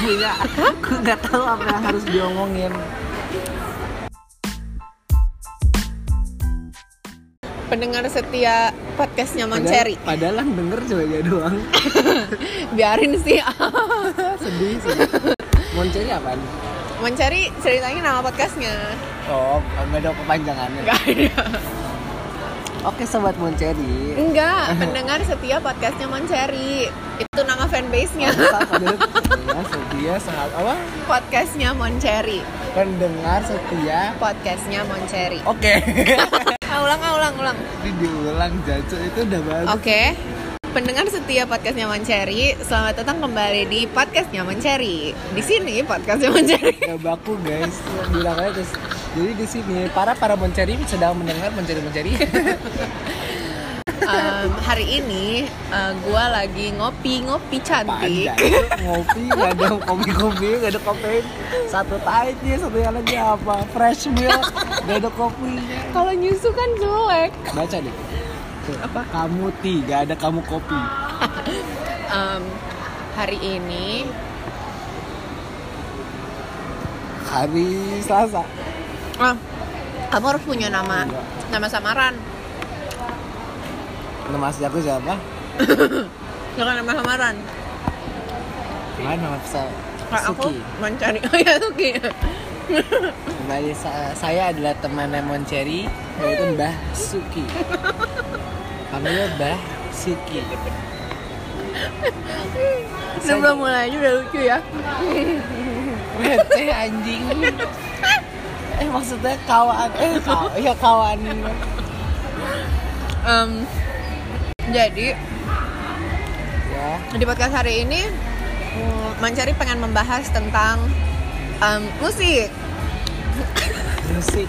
Enggak, aku nggak tahu apa yang harus diomongin. Pendengar setia podcastnya Manceri. Padahal- Padahal yang denger cuma dia doang. Ah, Biarin sih. sedih sih. Monceri apaan? Manceri ceritanya nama podcastnya. Oh, nggak ada kepanjangannya. Enggak ada. Oke sobat Monceri. Enggak, pendengar setia podcastnya Manceri. Itu nama fanbase-nya. Padahal setia, setia sangat apa? Podcastnya Monceri. Pendengar setia. Podcastnya Monceri. Oke. Ah, ulang, ah, ulang, ulang. Ini diulang jaco itu udah bagus. Oke. Pendengar setia podcastnya Mencari, selamat datang kembali di podcastnya Mencari. Di sini podcastnya Mencari. Gak baku guys, bilang aja terus. Jadi di sini para para mencari sedang mendengar mencari mencari. Em, hari ini eh, gua lagi ngopi ngopi Panjang cantik. Iya, itu ngopi gak ada kopi kopi gak ada kopi satu taitnya satu yang lagi apa fresh milk gak ada kopinya. Kalau nyusu kan jelek. Baca deh. Tuh, Apa? Kamu ti, gak ada kamu kopi. Em, hari ini Hari Selasa. ah, kamu harus punya nama nama samaran. Nama asli aku siapa? Jangan nama samaran. Mana nama asal- Kalau aku Suki. Mencari. Oh ya Suki. Kembali sa- saya adalah temannya Monceri yaitu Mbah Suki. Namanya Mbah Suki. Sebelum mulainya udah lucu ya. Bete anjing. Eh maksudnya kawan eh kaw- ya kawan. Em, jadi Ya. di podcast hari ini mm, Mancari pengen membahas tentang um, musik Musik.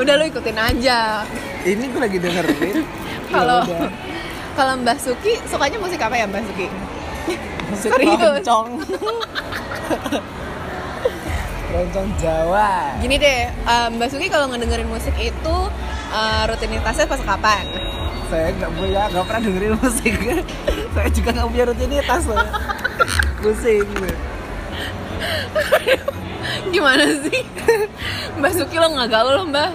udah lo ikutin aja Ini gue lagi dengerin. kalau Ya udah. kalau Mbak Suki sukanya musik apa ya Mbak Suki musik Serius? roncong. roncong Jawa. gini deh um, Mbak Suki kalau ngedengerin musik itu uh, rutinitasnya pas kapan saya nggak punya nggak pernah dengerin musik saya juga nggak punya rutinitas loh pusing gimana sih Mbak Suki lo nggak gaul lo Mbak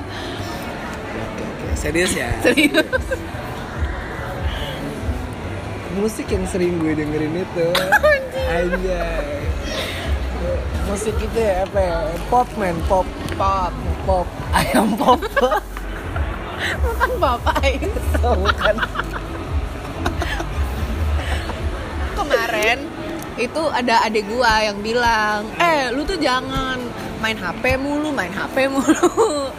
serius ya serius musik yang sering gue dengerin itu anjay musik itu ya apa ya pop man pop pop pop ayam pop bukan Kan bapak ya. ini. Oh, bukan kemarin itu ada adik gua yang bilang eh lu tuh jangan main HP mulu main HP mulu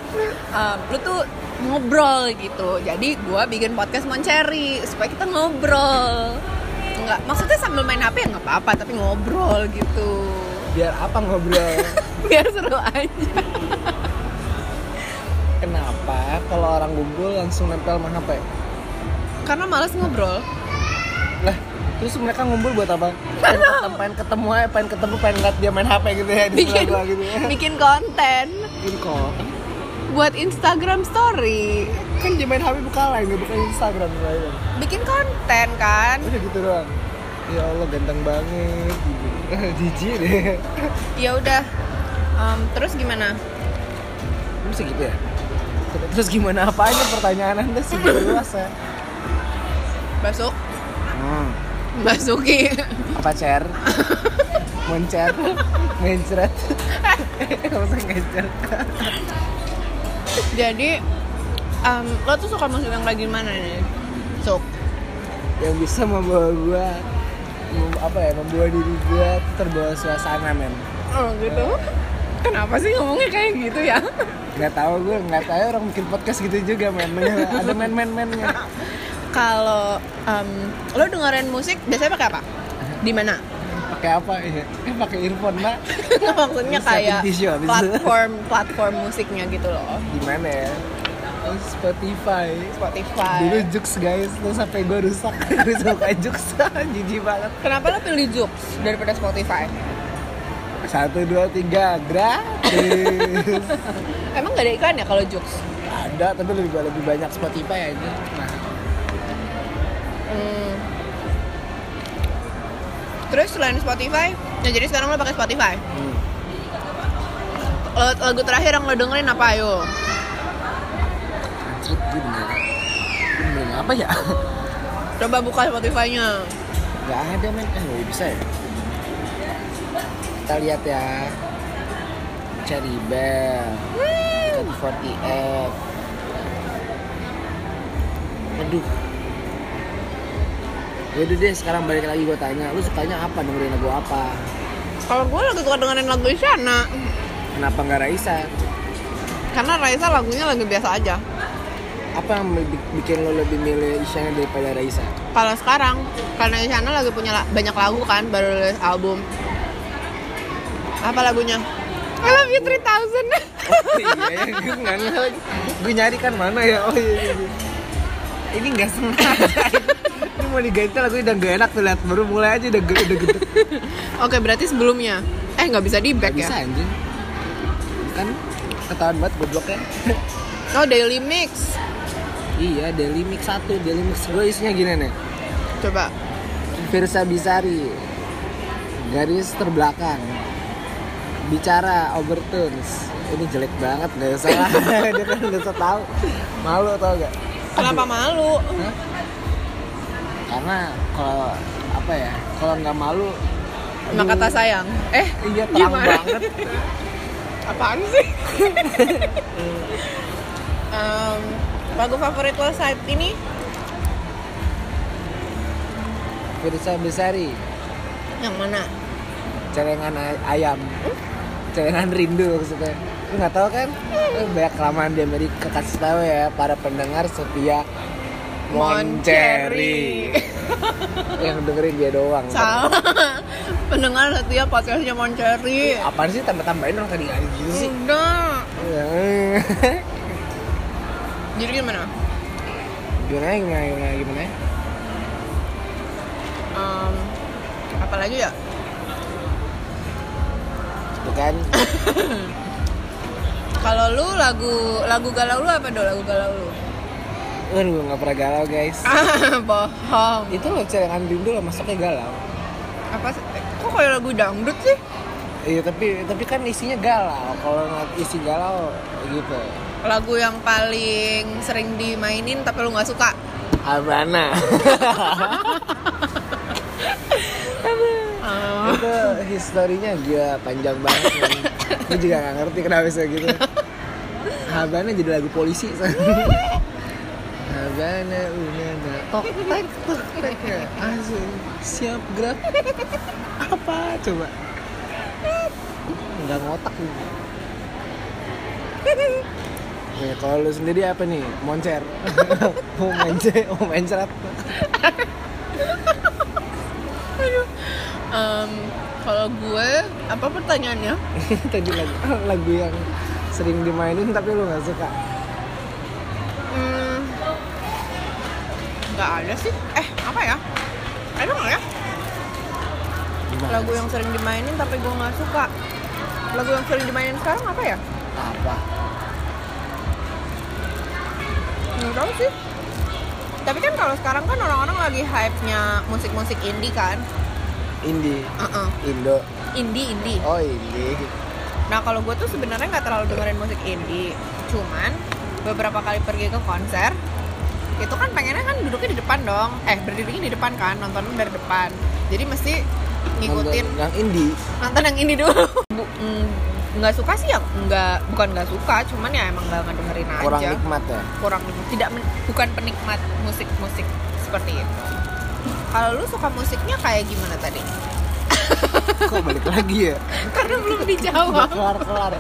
Em, lu tuh ngobrol gitu jadi gua bikin podcast Monceri supaya kita ngobrol nggak maksudnya sambil main HP ya nggak apa-apa tapi ngobrol gitu biar apa ngobrol biar seru aja kenapa kalau orang gumpul langsung nempel sama HP karena males ngobrol lah terus mereka ngumpul buat apa pengen ketemu pengen ketemu aja, pengen ketemu pengen lihat dia main HP gitu ya di sebelah bikin gua gitu ya bikin konten bikin kok buat Instagram Story kan dia main HP buka lain gak buka Instagram lain bikin konten kan udah gitu doang ya Allah ganteng banget gitu. jijik deh ya udah Em, terus gimana lu segitu ya terus gimana apanya pertanyaan anda segitu luas ya Hmm. Masuk Masuki apa cer mencet mencret masa ngecer Jadi em, Lo tuh suka musik yang kayak gimana nih? Sok yang bisa membawa gua mem- apa ya membawa diri gua terbawa suasana men Oh gitu Kenapa sih ngomongnya kayak gitu ya? nggak tahu gue nggak tahu orang bikin podcast gitu juga men Men- ada men men mennya Kalau em, Lo dengerin musik biasanya pakai apa? Di mana? pakai apa ya eh pakai earphone nak Maksudnya Bisa kayak tisu abis itu. platform platform musiknya gitu loh gimana ya Oh, Spotify dulu Spotify Jux guys tuh sampai gue rusak gue suka Jux jijik banget Kenapa lo pilih Jux daripada Spotify? satu dua tiga gratis Emang gak ada iklan ya kalau Jux? ada tapi lebih lebih banyak Spotify aja nah Hmm. Terus selain Spotify, nah jadi sekarang lo pakai Spotify. hmm. Lo- Lagu terakhir yang lo dengerin apa ayo? Anjir, gue bener Gue bener apa ya? Coba buka Spotify-nya. Gak ada men, eh gak bisa ya? Kita lihat ya Cherry Bell Hmm. F Aduh Yaudah deh sekarang balik lagi gue tanya Lu sukanya apa? Dengerin lagu apa? Kalau gue lagi suka dengerin lagu Isyana Kenapa nggak Raisa? karena Raisa lagunya lagu biasa aja. Apa yang bi- bikin lo lebih milih Isyana daripada Raisa? Kalau sekarang karena Isyana lagi punya la- banyak lagu kan baru rilis album. Apa lagunya? I love you Oh 3000. iya, ya, gue nggak ngeh lagi. Gue nyari kan mana ya? Oh iya. iya, iya. Ini nggak sengaja. Ini mau diganti lagunya udah nggak enak tuh lihat baru mulai aja udah gede udah gede. Oke, berarti sebelumnya. Eh, nggak bisa di back Bisa ya. anjing. Kan ketahuan banget gobloknya. Oh, Daily Mix. iya, Daily Mix 1, Daily Mix 2 isinya gini nih. Coba. Firsa Bisari. Garis terbelakang. Bicara overtones. Ini jelek banget, nggak usah lah. Dia kan nggak usah tahu. Malu tau gak? Kenapa malu? karena kalau apa ya kalau nggak malu Cuma kata sayang. Eh, iya terang Gimana? banget apaan sih? Em, lagu favorit lo saat ini? Firsa Besari Yang mana? celengan ay- ayam celengan rindu maksudnya lu nggak tahu kan Lu banyak kelamaan di Amerika kasih tahu ya para pendengar setia Monceri yang dengerin dia doang Salah. Pendengar setia podcastnya Moncherry. apaan sih tambah-tambahin orang tadi nggak ada gitu sih Enggak. Ya. Jadi gimana? gimana gimana gimana gimana Em, apalagi ya? Tuh kan Kalau lu lagu lagu galau lu apa dong lagu galau lu? aduh nggak pernah galau guys Ah, bohong. itu loh celengan rindu lo masuknya galau Apa sih? Eh, Kok kayak lagu dangdut sih? Iya tapi tapi kan isinya galau. Kalau nggak isi galau gitu. Lagu yang paling sering dimainin tapi lu nggak suka. Habana. Em, itu historinya gila panjang banget. men. Gue juga nggak ngerti kenapa bisa gitu. Habana jadi lagu polisi. Habana unana tok tek tok tek Asik. siap gerak apa coba nggak ngotak nih Nih, kalau lu sendiri apa nih? Moncer. mau moncer, mau mencret. em, kalau gue apa pertanyaannya? Tadi lagu, lagu yang sering dimainin tapi lu nggak suka. Hmm, nggak ada sih. Eh apa ya? Ada nggak ya? Gimana Lagu yang sering dimainin tapi gue nggak suka. Lagu yang sering dimainin sekarang apa ya? apa? Nggak tahu sih. Tapi kan kalau sekarang kan orang-orang lagi hype-nya musik-musik indie kan. Indie, Uh-uh. Indo. Indie, indie. Oh, indie. Nah kalau gue tuh sebenarnya nggak terlalu dengerin musik indie. Cuman beberapa kali pergi ke konser, itu kan pengennya kan duduknya di depan dong. Eh berdirinya di depan kan, nonton dari depan. Jadi mesti ngikutin Nonton yang indie. nonton yang ini dulu. Bu- mm, Nggak suka sih ya, nggak bukan nggak suka, cuman ya emang nggak ngedengerin aja. Kurang nikmat ya. kurang tidak men- bukan penikmat musik-musik seperti itu. Kalau lu suka musiknya kayak gimana tadi? Kok balik lagi ya? Karena belum Nggak dijawab. kelar-kelar.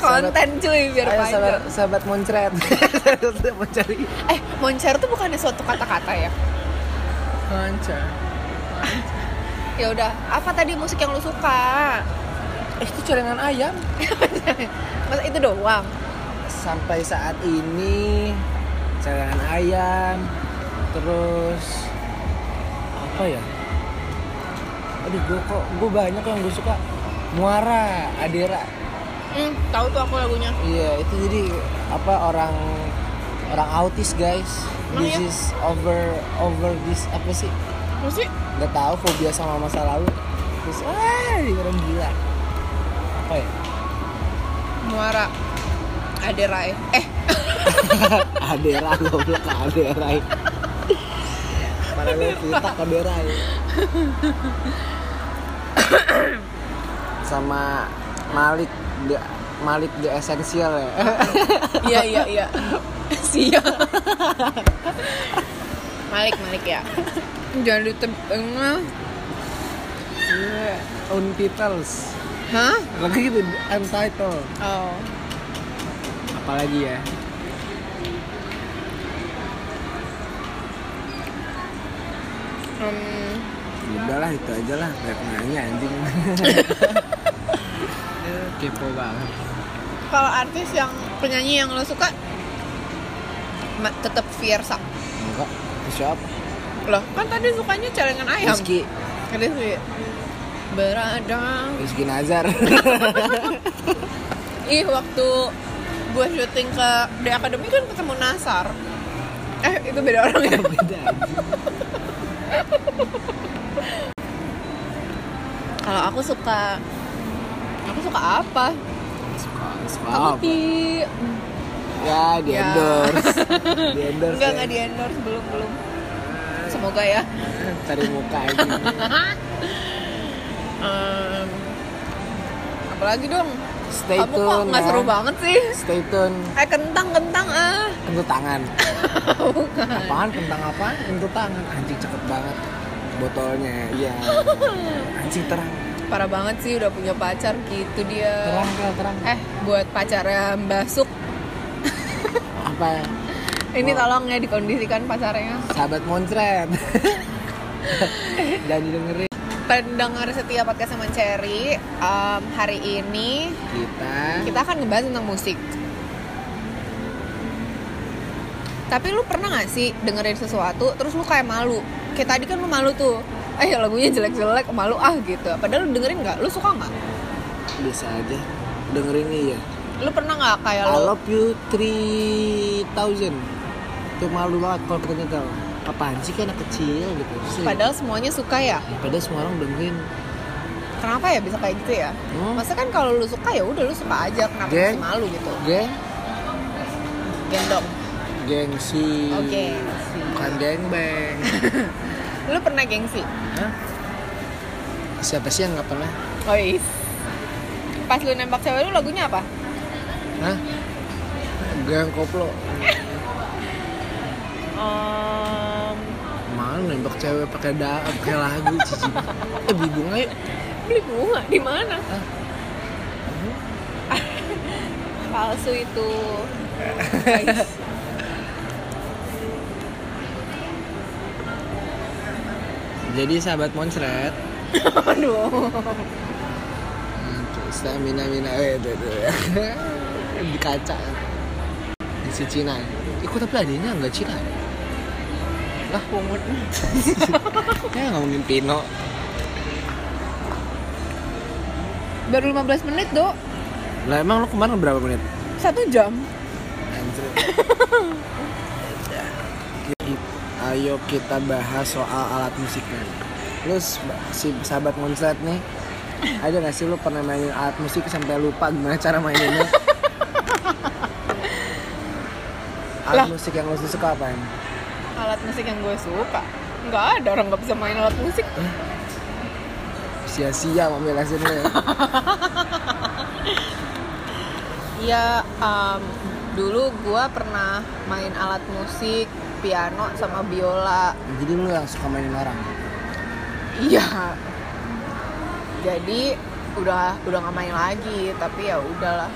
Konten cuy biar Ayo sahabat, panjang. sahabat moncret. Sudah mencari Eh, moncer tuh bukannya suatu kata-kata ya? moncer. Ya udah, apa tadi musik yang lu suka? Eh, itu celengan ayam. Masa itu doang? sampai saat ini celengan ayam terus apa ya aduh gue kok gue banyak yang gue suka muara adera Hmm, tahu tuh aku lagunya. iya itu jadi apa orang orang autis guys Emang this ya? is over over this apa sih Apa sih? nggak tahu fobia sama masa lalu terus wah orang gila apa ya Muara Aderai Eh, Adera goblok Adera Paralel kita ke Adera Sama Malik the, Malik the Essential ya iya iya iya Sia Malik, Malik ya Jangan di tengah Untitles Hah? Iya, Lagi gitu Untitled Oh Apalagi ya Hmm, Udah lah itu aja lah Gak nanya anjing Kepo banget Kalau artis yang penyanyi yang lo suka ma- tetap Fiersa Enggak Siapa? Loh, kan tadi sukanya celengan ayam Rizky Rizky Berada Rizky Nazar Ih, waktu gue syuting ke The Academy kan ketemu Nasar Eh, itu beda orang ya? Beda anjing. Kalau aku suka Aku suka apa? Suka suka Aku apa? di Ya, di Ya. endorse. di endorse. Enggak, ya. enggak di endorse, belum, belum Semoga ya Cari muka aja. Em, Um, Apalagi dong? Stay Kamu kok tune. nggak ya. seru banget sih? Stay tune. Eh, kentang-kentang ah Kentut tangan. Apaan kentang apaan? Kentut tangan. Anjing cakep banget botolnya. Iya. Anjing terang. Parah banget sih, udah punya pacar gitu dia Terang, terang, terang. Eh, buat pacarnya Mbak Suk Apa? ya? Ini Wow. tolong ya dikondisikan pacarnya. Sahabat moncret. Jangan didengerin. Pendengar setia podcast sama Cherry, em, hari ini Kita. kita akan ngebahas tentang musik. Tapi lu pernah gak sih dengerin sesuatu terus lu kayak malu? Kayak tadi kan lu malu tuh. Eh lagunya jelek-jelek, malu ah gitu. Padahal lu dengerin nggak? Lu suka nggak? Bisa aja. Dengerin iya. Lu pernah nggak kayak I lu? love you 3000 Itu malu banget kalau kita nyetel Apaan sih kayak anak kecil gitu Terus, Padahal semuanya suka ya. Padahal semua orang dengerin Kenapa ya bisa kayak gitu ya? Hmm. Masa kan kalau lu suka ya udah lu suka aja. Kenapa Geng. masih malu gitu? Geng Gendong. Gengsi Oh, gengsi. Bukan gengbeng Lu pernah gengsi? Hah? Siapa sih yang gak pernah? Ois. Pas lu nembak cewek lu lagunya apa? Hah? Geng koplo Malu nembak cewek pakai da pakai lagu cici Eh beli bunga yuk beli bunga di mana? Ah. Palsu itu. Jadi sahabat moncret Aduh. stamina mina eh, itu itu di kaca di si Cina ikut tapi adanya nggak Cina Lah pungut. ya ngomongin Pino Baru 15 menit, Dok. lah emang lo kemarin berapa menit Satu jam. Ki- ayo kita bahas soal alat musiknya lu s- si sahabat monstrat nih ada nggak sih lu pernah mainin alat musik sampai lupa gimana cara maininnya Lah. alat musik yang lu suka apa Alat musik yang gue suka. Nggak ada orang nggak bisa main alat musik. sia-sia mau jelasin lu ya. Ya, em, dulu gue pernah main alat musik, piano sama biola. Jadi lu yang suka mainin orang? Iya. Jadi udah udah nggak main lagi, tapi ya udahlah.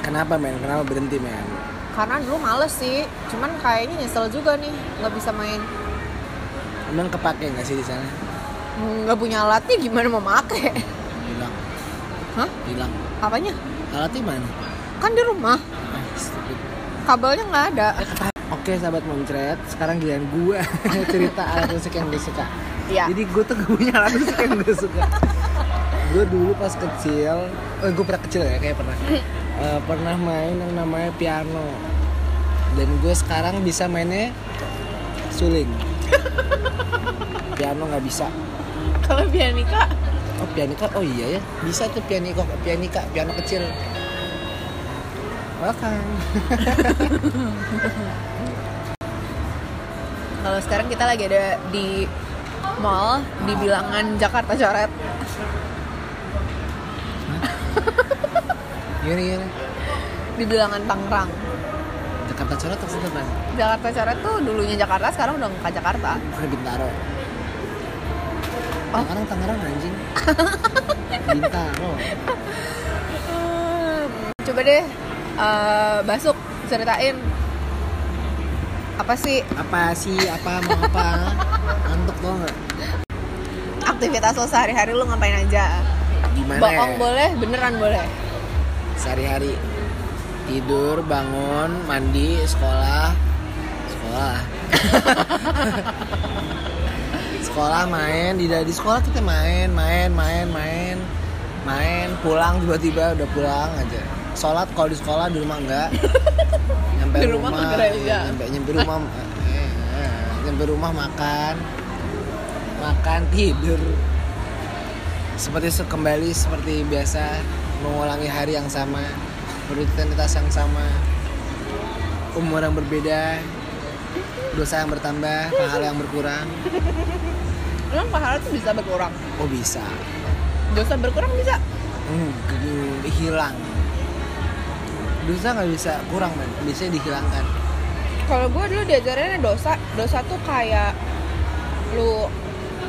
Kenapa men? Kenapa berhenti men? Karena dulu males sih, cuman kayaknya nyesel juga nih nggak bisa main. Emang kepake nggak sih di sana? Nggak punya alatnya gimana mau make? Hilang, Hah? hilang. Apanya? Alatnya mana? Kan di rumah, Ah, stupid. kabelnya nggak ada. Oke sahabat moncret, sekarang giliran gue cerita alat musik yang gue suka. Iya. Jadi gue tuh gak punya alat musik yang gue suka. gue dulu pas kecil, eh gue pernah kecil ya kayak pernah, Eh, pernah main yang namanya piano. Dan gue sekarang bisa mainnya suling. piano nggak bisa Kalau pianika oh pianika oh iya ya bisa tuh pianiko pianika piano kecil welcome Kalau sekarang kita lagi ada di mall di bilangan Jakarta Coret. gini gini Di bilangan Tangerang. Jakarta Coret atau Sudirman Jakarta Coret tuh dulunya Jakarta, sekarang udah nggak Jakarta. Bukan Bintaro Oh. Tangerang Tangerang anjing Bintaro Coba deh eh, Basuk ceritain apa sih apa sih apa mau apa ngantuk tau nggak aktivitas lo sehari-hari lo ngapain aja? gimana Bohong ya? boleh, beneran boleh. sehari-hari tidur bangun mandi sekolah sekolah sekolah main di di sekolah kita main main main main main pulang tiba-tiba udah pulang aja sholat kalau di sekolah di rumah enggak nyampe Di rumah iya, enggak ya. nyampe nyampe rumah eh, eh, nyampe rumah makan makan tidur seperti se- kembali seperti biasa mengulangi hari yang sama rutinitas yang sama umur yang berbeda dosa yang bertambah pahala yang berkurang Emang pahala tuh bisa berkurang. oh bisa Dosa berkurang bisa. Hmm, gitu, hilang dosa nggak bisa kurang man biasanya dihilangkan Kalau gue dulu diajarinnya dosa, dosa tuh kayak lu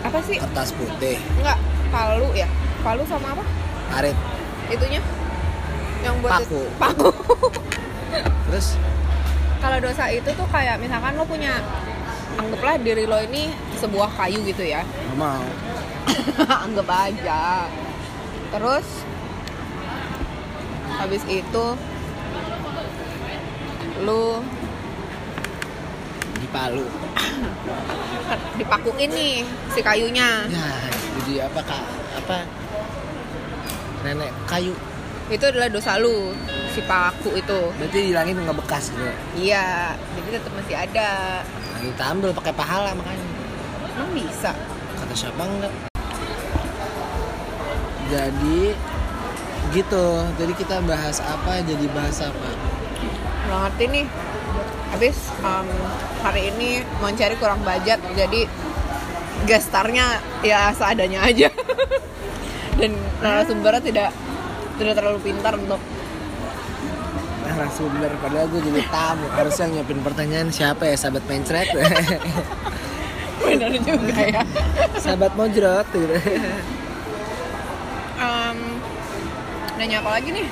apa sih? kertas putih Enggak, palu ya. Palu sama apa? parit Itunya yang buat Paku. paku. terus Kalau dosa itu tuh kayak misalkan lo punya anggaplah diri lo ini sebuah kayu gitu ya. nggak mau Anggap aja. Terus habis itu lu di palu dipakuin nih si kayunya. ya jadi apa kak apa nenek kayu itu adalah dosa lu si paku itu berarti dihilangin nggak bekas gitu iya jadi tetap masih ada lagi tampil pakai pahala makanya emang bisa kata siapa enggak jadi gitu jadi kita bahas apa jadi bahas apa nggak ngerti nih habis em, hari ini mau cari kurang budget jadi gestarnya ya seadanya aja dan narasumbernya tidak tidak terlalu pintar untuk narasumber padahal gue jadi tamu harusnya nyiapin pertanyaan siapa ya sahabat mencret benar juga ya sahabat mojrot gitu. Em, nanya apa lagi nih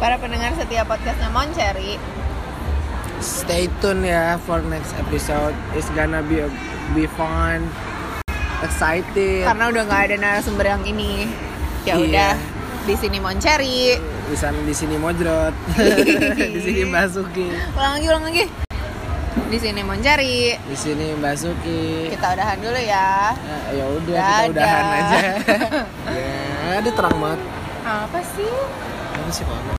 para pendengar setiap podcastnya Monceri stay tune ya for next episode it's gonna be be fun excited karena udah nggak ada narasumber yang ini ya Iya. udah di sini Monceri di sana di sini mojrot di sini Basuki ulang lagi ulang lagi di sini Monceri di sini Basuki kita udahan dulu ya Nah, ya udah kita Dadah. udahan aja ya ada terang banget apa sih apa sih Pak?